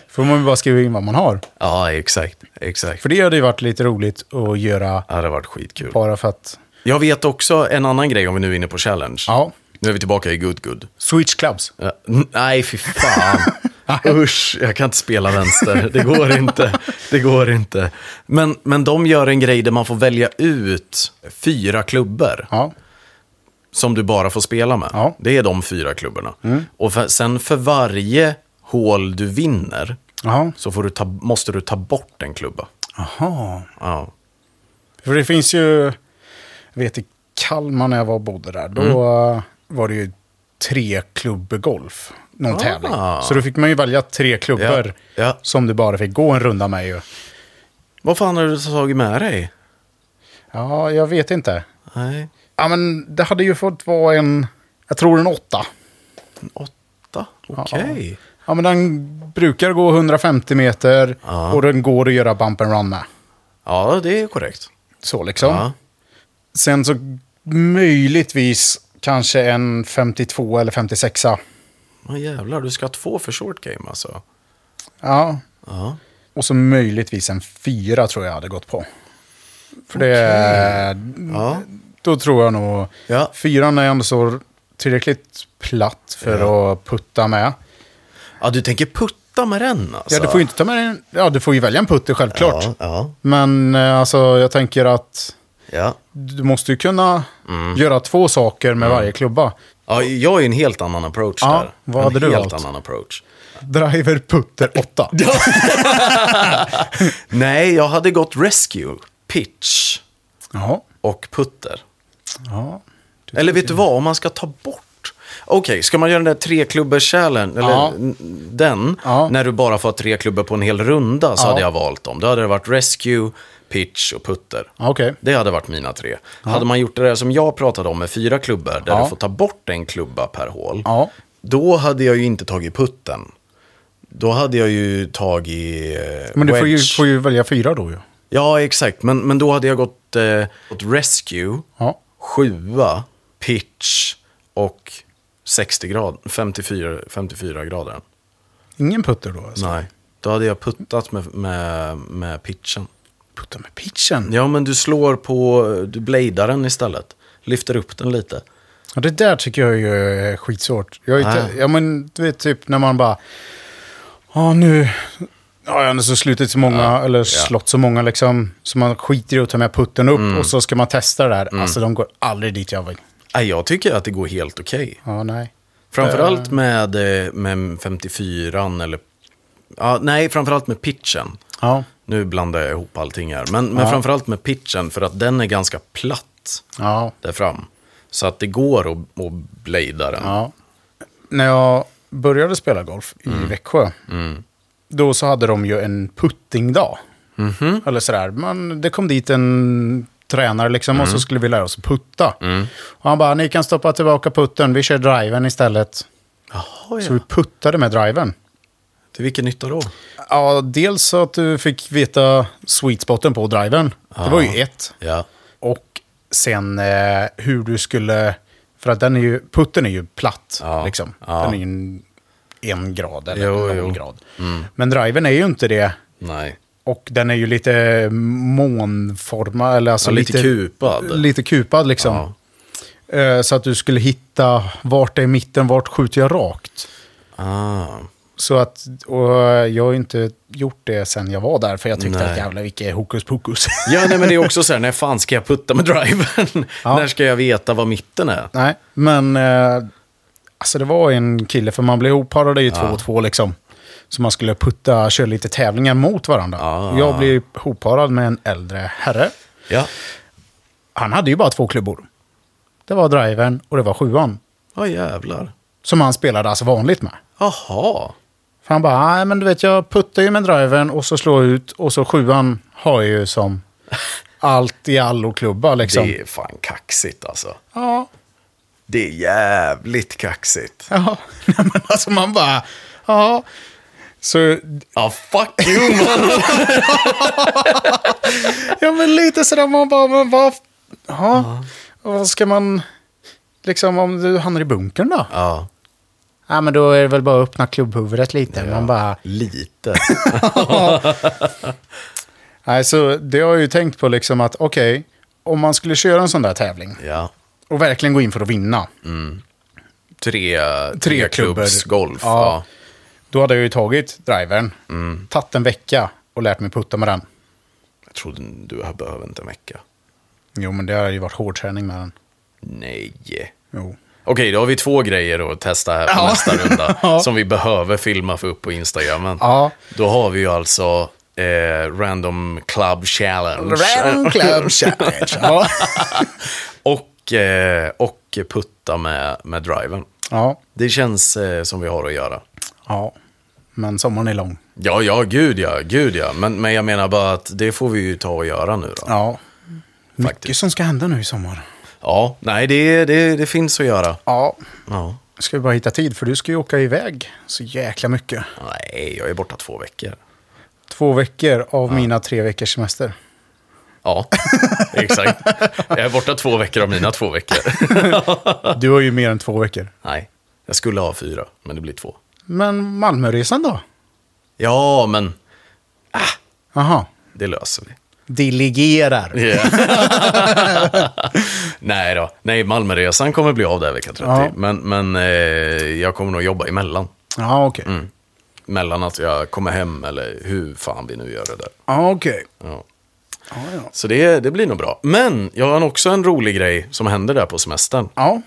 Speaker 2: Får man bara skriva in vad man har.
Speaker 1: Ja, exakt. exakt.
Speaker 2: För det hade ju varit lite roligt att göra
Speaker 1: Ja, det hade varit skitkul.
Speaker 2: bara för att...
Speaker 1: Jag vet också en annan grej om vi nu är inne på challenge.
Speaker 2: Ja.
Speaker 1: Nu är vi tillbaka i Good Good.
Speaker 2: Switch clubs.
Speaker 1: Ja, n- nej, fy fan. Usch, jag kan inte spela vänster. Det går inte. Det går inte. Men, men de gör en grej där man får välja ut fyra klubbor
Speaker 2: Ja.
Speaker 1: som du bara får spela med.
Speaker 2: Ja. Mm.
Speaker 1: Det är de fyra klubborna. Och för, sen för varje hål du vinner
Speaker 2: Jaha.
Speaker 1: så får du ta, måste du ta bort en klubba.
Speaker 2: Jaha.
Speaker 1: Ja.
Speaker 2: För det finns ju... Jag vet i Kalmar när jag var och bodde där, då
Speaker 1: Mm.
Speaker 2: eh, var det ju tre klubbor golf. Någon tävling. Så då fick man ju välja tre klubbor
Speaker 1: Ah. Ja, ja.
Speaker 2: som du bara fick gå en runda med. Ju.
Speaker 1: Vad fan har du tagit med dig?
Speaker 2: Ja, jag vet inte.
Speaker 1: Nej,
Speaker 2: Ja, men det hade ju fått vara en... Jag tror en åtta.
Speaker 1: en åtta. Okej.
Speaker 2: Ja, men den brukar gå 150 meter
Speaker 1: Ja.
Speaker 2: och den går att göra bump and run med.
Speaker 1: Ja, det är korrekt.
Speaker 2: Så liksom.
Speaker 1: Ja.
Speaker 2: Sen så möjligtvis kanske en 52 eller 56.
Speaker 1: Men jävlar, du ska ha två för short game alltså.
Speaker 2: Ja.
Speaker 1: Ja.
Speaker 2: Och så möjligtvis en fyra tror jag hade gått på. För det...
Speaker 1: Ja.
Speaker 2: Då tror jag nog...
Speaker 1: Ja.
Speaker 2: Fyran är ändå så tillräckligt platt för att putta med.
Speaker 1: ja, du tänker putta med den alltså?
Speaker 2: Ja, du får ju inte ta med en... Ja, du får ju välja en putter självklart.
Speaker 1: Ja, ja,
Speaker 2: Men eh, alltså, jag tänker att
Speaker 1: ja.
Speaker 2: du måste ju kunna
Speaker 1: Mm.
Speaker 2: göra två saker med varje klubba.
Speaker 1: ja jag är ju en helt annan approach
Speaker 2: Ja,
Speaker 1: där.
Speaker 2: vad
Speaker 1: en
Speaker 2: hade du
Speaker 1: helt
Speaker 2: valt?
Speaker 1: annan approach.
Speaker 2: Driver, putter, åtta.
Speaker 1: Nej, jag hade gått rescue, pitch
Speaker 2: Ja.
Speaker 1: och putter.
Speaker 2: ja.
Speaker 1: Eller vet du vad, om man ska ta bort... Okej, ska man göra den där treklubbor-challenge, eller
Speaker 2: Ja.
Speaker 1: n- den,
Speaker 2: Ja.
Speaker 1: när du bara får ha tre klubbor på en hel runda, så
Speaker 2: Ja.
Speaker 1: hade jag valt dem. Då hade det varit rescue, pitch och putter.
Speaker 2: Ja, Okej.
Speaker 1: Det hade varit mina tre. Hade man gjort det där som jag pratade om med fyra klubbor, där
Speaker 2: Ja.
Speaker 1: du får ta bort en klubba per hål,
Speaker 2: Ja.
Speaker 1: då hade jag ju inte tagit putten. Då hade jag ju tagit eh,
Speaker 2: Men du får ju,
Speaker 1: wedge.
Speaker 2: får ju välja fyra då ju.
Speaker 1: Ja, exakt. Men, men då hade jag gått eh, åt rescue,
Speaker 2: Ja.
Speaker 1: sjua, pitch och 60 grad, 54, 54 grader.
Speaker 2: Ingen putter då alltså.
Speaker 1: Nej, då hade jag puttat med, med, med pitchen.
Speaker 2: Putta med pitchen. Ja.
Speaker 1: Ja, men du slår på, du bladar den istället. Lyfter upp den lite.
Speaker 2: det där tycker jag ju är skitsvårt. Jag är inte,
Speaker 1: Nej.
Speaker 2: ja men du vet typ när man bara... Ja nu... Ja, jag har så slutit så många, eller slått så många liksom. Så man skiter i att ta med putten upp och så ska man testa det där. Alltså de går aldrig dit jag vill.
Speaker 1: Nej, jag tycker att det går helt okej.
Speaker 2: Ja, nej.
Speaker 1: Framförallt med, eh, med 54 eller... Ja, nej, framförallt med pitchen.
Speaker 2: Ja.
Speaker 1: Nu blandar jag ihop allting här. Men, men framförallt med pitchen, för att den är ganska platt
Speaker 2: Ja.
Speaker 1: där fram. Så att det går att, att blada den.
Speaker 2: ja. När jag började spela golf i
Speaker 1: Mm.
Speaker 2: Växjö, då så hade de ju en puttingdag.
Speaker 1: Mhm.
Speaker 2: Eller sådär. Man, det kom dit en tränare liksom och
Speaker 1: Mm.
Speaker 2: så skulle vi lära oss att putta. Och han bara, ni kan stoppa tillbaka putten, vi kör driven istället.
Speaker 1: Jaha,
Speaker 2: Så
Speaker 1: ja.
Speaker 2: vi puttade med driven.
Speaker 1: Till vilken nytta då?
Speaker 2: Ja, dels så att du fick veta sweet spoten på driven. Det var ju ett.
Speaker 1: Ja.
Speaker 2: Och sen eh, hur du skulle... För att den är ju, putten är ju platt.
Speaker 1: Ja.
Speaker 2: Liksom.
Speaker 1: Ja.
Speaker 2: Den är ju en, en grad eller
Speaker 1: Jo, Mm.
Speaker 2: någon
Speaker 1: jo.
Speaker 2: grad. Men driven är ju inte det.
Speaker 1: Nej.
Speaker 2: Och den är ju lite månformad. Eller alltså
Speaker 1: Ja, lite kupad.
Speaker 2: Lite kupad liksom. Eh, så att du skulle hitta vart är mitten, vart skjuter jag rakt.
Speaker 1: Ah.
Speaker 2: Så att, och jag har ju inte gjort det sen jag var där, för jag tyckte
Speaker 1: Nej.
Speaker 2: att jävlar vilket hokus pokus.
Speaker 1: Ja, nej, men det är också så här, när fan ska jag putta med driven? När ska jag veta vad mitten är?
Speaker 2: Nej, men eh, alltså det var en kille, för man blev ihopparade i två och två liksom. Så man skulle putta, köra lite tävlingar mot varandra.
Speaker 1: Ja.
Speaker 2: Jag blev ihopparad med en äldre herre.
Speaker 1: Ja.
Speaker 2: Han hade ju bara två klubbor. Det var driven och det var sjuan.
Speaker 1: Ja, jävlar.
Speaker 2: Som han spelade alltså vanligt med.
Speaker 1: Jaha.
Speaker 2: För han bara, nej men du vet jag puttar ju med driven och så slår jag ut och så sjuan har jag ju som allt i allo-klubba liksom.
Speaker 1: Det är fan kaxigt alltså.
Speaker 2: Ja.
Speaker 1: Det är jävligt kaxigt.
Speaker 2: Ja, Nej, men alltså man bara, ja. Så,
Speaker 1: Ja, fuck you man.
Speaker 2: ja men lite sådär man bara, men vad, ja. Och Vad ska man, liksom om du hamnar i bunkern då?
Speaker 1: Ja,
Speaker 2: Ja men då är det väl bara att öppna klubbhuvudet lite. Man bara,
Speaker 1: lite.
Speaker 2: nej så det har jag ju tänkt på liksom att okej, om man skulle köra en sån där tävling
Speaker 1: Ja.
Speaker 2: och verkligen gå in för att vinna.
Speaker 1: Tre,
Speaker 2: Tre klubbor.
Speaker 1: golf.
Speaker 2: Ja.
Speaker 1: Ja.
Speaker 2: Då hade jag ju tagit drivern, tagit en vecka och lärt mig putta med den.
Speaker 1: Jag trodde du här behöver inte en vecka.
Speaker 2: Jo men det har ju varit hård träning med den.
Speaker 1: Nej.
Speaker 2: Jo.
Speaker 1: Okej, då har vi två grejer att testa här på
Speaker 2: Ja.
Speaker 1: nästa runda.
Speaker 2: Ja.
Speaker 1: Som vi behöver filma för upp på Instagramen.
Speaker 2: Ja.
Speaker 1: Då har vi ju alltså eh, Random Club Challenge.
Speaker 2: Random Club Challenge. ja.
Speaker 1: Och, eh, och putta med, med driven.
Speaker 2: ja.
Speaker 1: Det känns eh, som vi har att göra.
Speaker 2: Ja. Men sommaren är lång.
Speaker 1: Ja, ja, gud ja, gud ja. Men, men jag menar bara att det får vi ju ta och göra nu då. Ja,
Speaker 2: Ja. Mycket
Speaker 1: Faktiskt.
Speaker 2: som ska hända nu i sommar.
Speaker 1: nej, det, det, det finns att göra.
Speaker 2: Ja.
Speaker 1: Ja.
Speaker 2: Ska vi bara hitta tid, för du ska ju åka iväg så jäkla mycket.
Speaker 1: Nej, jag är borta två veckor.
Speaker 2: Två veckor av mina tre veckors semester.
Speaker 1: Ja, exakt. Jag är borta två veckor av mina två veckor.
Speaker 2: Du har ju mer än två veckor.
Speaker 1: Nej, jag skulle ha fyra, men det blir två.
Speaker 2: Men Malmöresan då?
Speaker 1: Ja, men
Speaker 2: Aha.
Speaker 1: det löser vi.
Speaker 2: Delegerar.
Speaker 1: Nej då. Nej, Malmöresan kommer bli av där vecka 30.
Speaker 2: Ja.
Speaker 1: Men, men eh, jag kommer nog jobba emellan.
Speaker 2: Ja, okej.
Speaker 1: Mellan att jag kommer hem eller hur fan vi nu gör det där.
Speaker 2: Ja, okej.
Speaker 1: Ja.
Speaker 2: Ja, ja.
Speaker 1: Så det, det blir nog bra. Men jag har också en rolig grej som händer där på semestern.
Speaker 2: Ja.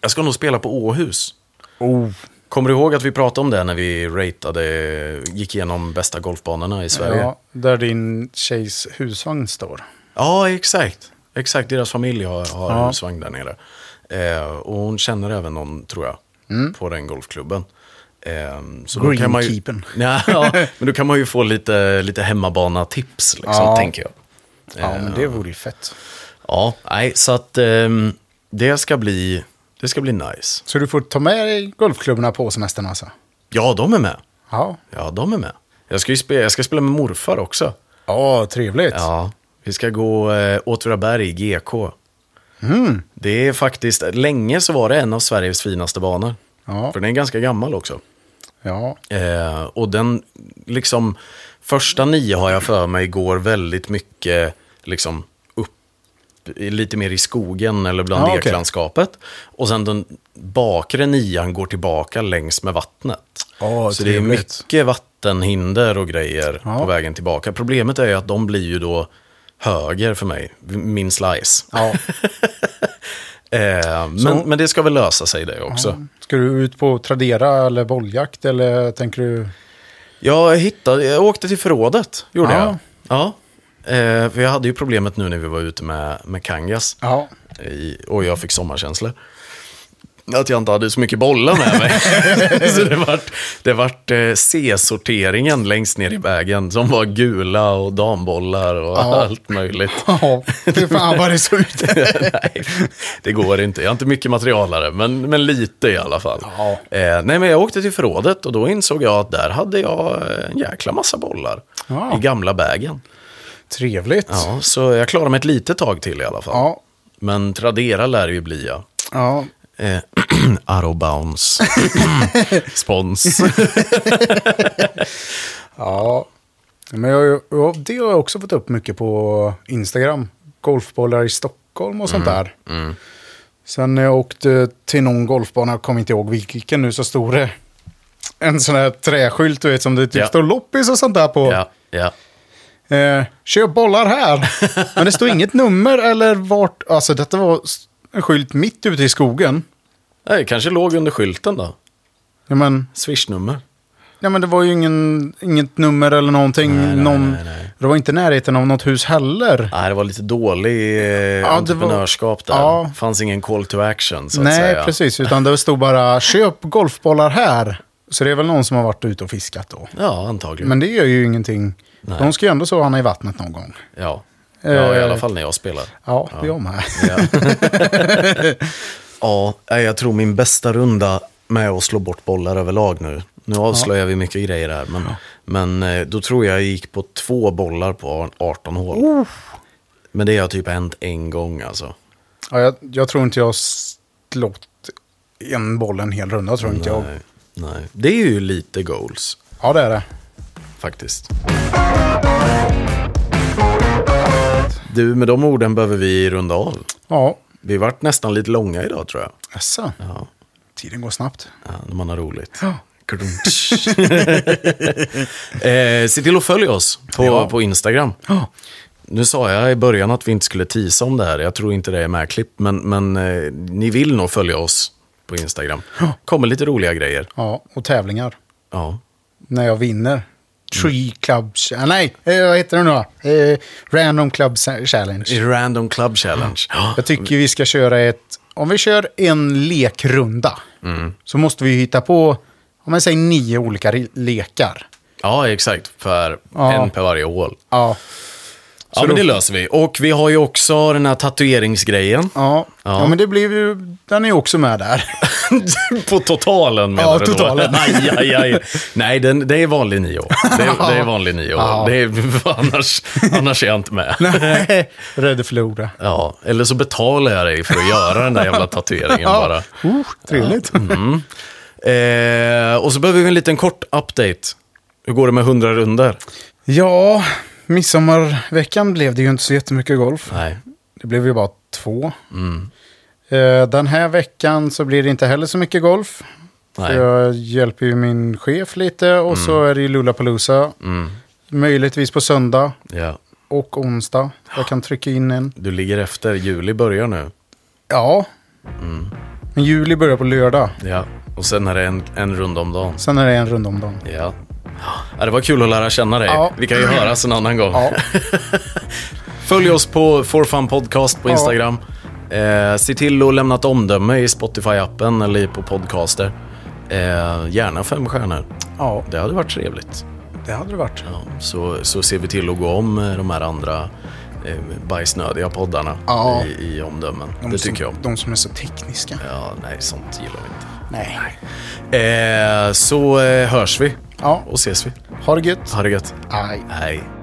Speaker 1: Jag ska nog spela på Åhus.
Speaker 2: Oh.
Speaker 1: Kommer du ihåg att vi pratade om det när vi ratade, gick igenom bästa golfbanorna i Sverige? Ja,
Speaker 2: Ja, där din tjejs husvagn står.
Speaker 1: exakt. Exakt, deras familj har, har
Speaker 2: Ja.
Speaker 1: husvagn där nere. Eh, och hon känner även någon, tror jag,
Speaker 2: Mm.
Speaker 1: på den golfklubben. Eh, så då kan man ju-
Speaker 2: Greenkeepern.
Speaker 1: Ja, ja, men då kan man ju få lite, lite hemmabana-tips, liksom,
Speaker 2: Ja.
Speaker 1: tänker jag.
Speaker 2: Ja, men det vore ju fett.
Speaker 1: Ja, nej, så att ehm, det, ska bli, det ska bli nice.
Speaker 2: Så du får ta med dig golfklubborna på semestern alltså?
Speaker 1: Ja, de är med.
Speaker 2: Ja.
Speaker 1: Ja, de är med. Jag ska, ju spela, jag ska spela med morfar också.
Speaker 2: Ja, trevligt.
Speaker 1: Ja, vi ska gå eh, Åtvidaberg, GK. Det är faktiskt, länge så var det en av Sveriges finaste banor.
Speaker 2: Ja.
Speaker 1: För den är ganska gammal också.
Speaker 2: Ja.
Speaker 1: Eh, och den, liksom, första nio har jag för mig går väldigt mycket, liksom, upp, i- lite mer i skogen eller bland
Speaker 2: Ja, okej.
Speaker 1: eklandskapet. Och sen den bakre nian går tillbaka längs med vattnet.
Speaker 2: Ja,
Speaker 1: Så det är
Speaker 2: trevligt.
Speaker 1: mycket vattenhinder och grejer
Speaker 2: Ja.
Speaker 1: på vägen tillbaka. Problemet är ju att de blir ju då höger för mig, min slice.
Speaker 2: ja.
Speaker 1: Eh, men,
Speaker 2: Så-
Speaker 1: men det ska väl lösa sig det också.
Speaker 2: Ska du ut på Tradera eller bolljakt eller tänker du?
Speaker 1: Jag hittade, jag åkte till förrådet, gjorde
Speaker 2: Ja.
Speaker 1: jag. Ja. Eh, för jag hade ju problemet nu när vi var ute med, med Kangas.
Speaker 2: Ja.
Speaker 1: I, och jag fick sommarkänslor. Att jag inte hade så mycket bollar med mig. så det vart, det vart eh, C-sorteringen längst ner i vägen som var gula och dambollar och allt möjligt.
Speaker 2: Ja, fy fan vad det såg ut.
Speaker 1: nej, det går inte. Jag har inte mycket materialare, men, men lite i alla fall.
Speaker 2: Ja.
Speaker 1: Eh, nej, men jag åkte till förrådet och då insåg jag att där hade jag eh, en jäkla massa bollar
Speaker 2: Ja.
Speaker 1: i gamla bägen.
Speaker 2: Trevligt. Ja.
Speaker 1: Ja, så jag klarade mig ett litet tag till i alla fall.
Speaker 2: Ja.
Speaker 1: Men Tradera lär ju bli, ja.
Speaker 2: ja.
Speaker 1: Eh, Arrowbounce. Spons.
Speaker 2: Men jag, har ju- ja, det har jag också fått upp mycket på Instagram. Golfbollar i Stockholm och sånt där. Sen när jag åkte till någon golfbana, jag kommer inte ihåg vilken nu, så stod det en sån här träskylt du vet, som det typ
Speaker 1: Ja.
Speaker 2: står loppis och sånt där på.
Speaker 1: ja, ja.
Speaker 2: Eh, köp bollar här. Men det stod inget nummer eller vart. Alltså detta var s- en skylt mitt ute i skogen.
Speaker 1: Nej, kanske låg under skylten då.
Speaker 2: Ja men,
Speaker 1: Swishnummer.
Speaker 2: ja, men det var ju ingen, inget nummer eller någonting.
Speaker 1: Nej, nej,
Speaker 2: någon,
Speaker 1: nej, nej.
Speaker 2: Det var inte i närheten av något hus heller.
Speaker 1: Nej, det var lite dålig eh,
Speaker 2: var-
Speaker 1: entreprenörskap där.
Speaker 2: Ja.
Speaker 1: fanns ingen call to action, så att
Speaker 2: nej,
Speaker 1: säga.
Speaker 2: precis. Utan det stod bara köp golfbollar här. Så det är väl någon som har varit ute och fiskat då.
Speaker 1: Ja, antagligen.
Speaker 2: Men det gör ju ingenting.
Speaker 1: Nej.
Speaker 2: De ska ju ändå sova i vattnet någon gång.
Speaker 1: Ja. Ja, i alla fall när jag spelar.
Speaker 2: Ja, det är jag med.
Speaker 1: Ja. ja, nej, jag tror min bästa runda med att slå bort bollar överlag nu. Nu avslöjar vi mycket grejer här, men, men eh, då tror jag jag gick på två bollar på 18 hål. Men det har typ hänt en gång alltså.
Speaker 2: Ja, jag, jag tror inte jag har slått en boll en hel runda, tror inte jag.
Speaker 1: Nej, nej. Det är ju lite goals
Speaker 2: Ja, det är det.
Speaker 1: faktiskt. Du, med de orden behöver vi runda av.
Speaker 2: Ja,
Speaker 1: Vi vart nästan lite långa idag tror jag.
Speaker 2: jaså.
Speaker 1: Ja.
Speaker 2: Tiden går snabbt.
Speaker 1: Ja, när man har roligt.
Speaker 2: Ja.
Speaker 1: Kardunch. eh, se till att följa oss på,
Speaker 2: Ja.
Speaker 1: på Instagram.
Speaker 2: Ja.
Speaker 1: Nu sa jag i början att vi inte skulle tisa om det här. Jag tror inte det är medklippt, men, men eh, ni vill nog följa oss på Instagram. kommer lite roliga grejer.
Speaker 2: Ja, och tävlingar.
Speaker 1: Ja.
Speaker 2: När jag vinner. Tree Club... Ch- Nej, eh, vad heter det nu då? Eh, Random Club Sa- Challenge.
Speaker 1: Random Club Challenge. Ja.
Speaker 2: Jag tycker vi ska köra ett... Om vi kör en lekrunda så måste vi hitta på, om man säger nio olika re- lekar.
Speaker 1: Ja, exakt. För
Speaker 2: Ja.
Speaker 1: en per varje hål.
Speaker 2: Ja,
Speaker 1: Ja, men det löser vi. Och vi har ju också den här tatueringsgrejen.
Speaker 2: ja. ja.
Speaker 1: Ja.
Speaker 2: men det blev ju... Den är ju också med där.
Speaker 1: På totalen menar
Speaker 2: Ja,
Speaker 1: du då?
Speaker 2: totalen.
Speaker 1: Aj, aj, aj. Nej, den, det är vanlig nio år. Det, är- det är vanlig nio år.
Speaker 2: Ja.
Speaker 1: Det är, för annars, annars är jag inte med.
Speaker 2: Rädd att förlora.
Speaker 1: Ja, eller så betalar jag dig för att göra den där jävla tatueringen bara.
Speaker 2: Oh, trevligt.
Speaker 1: Eh, och så behöver vi en liten kort update. Hur går det med 100 runder?
Speaker 2: Ja, midsommarveckan blev det ju inte så jättemycket golf.
Speaker 1: Nej.
Speaker 2: Det blev ju bara två.
Speaker 1: Mm.
Speaker 2: Eh, Den här veckan så blir det inte heller så mycket golf.
Speaker 1: Nej. Mm.
Speaker 2: Jag hjälper ju min chef lite och så är det ju Lollapalooza. Möjligtvis på söndag
Speaker 1: Ja.
Speaker 2: och onsdag. Jag kan trycka in en.
Speaker 1: Du ligger efter. Juli börjar nu.
Speaker 2: Ja.
Speaker 1: Mm.
Speaker 2: Men juli börjar på lördag.
Speaker 1: Ja. Och sen är det en, en runda om dagen.
Speaker 2: Sen är det en runda om dagen.
Speaker 1: Ja. Ja, det var kul att lära känna dig.
Speaker 2: Ja.
Speaker 1: Vi kan ju höras en annan gång.
Speaker 2: Ja,
Speaker 1: Följ oss på For Fun Podcast på
Speaker 2: Ja.
Speaker 1: Instagram. Eh, se till att lämna ett omdöme i Spotify-appen eller på podcaster. Eh, gärna fem stjärnor.
Speaker 2: ja
Speaker 1: Det hade varit trevligt.
Speaker 2: det hade det varit.
Speaker 1: Ja, så, så ser vi till att gå om eh, de här andra eh, bajsnödiga poddarna
Speaker 2: Ja.
Speaker 1: i, i omdömen.
Speaker 2: De
Speaker 1: det
Speaker 2: som,
Speaker 1: tycker jag.
Speaker 2: De som är så tekniska.
Speaker 1: Ja, nej, sånt gillar vi inte.
Speaker 2: Nej.
Speaker 1: Eh, så eh, hörs vi
Speaker 2: Ja,
Speaker 1: och ses vi.
Speaker 2: ha det gött.
Speaker 1: Ha det gött.
Speaker 2: Aj.
Speaker 1: Hej.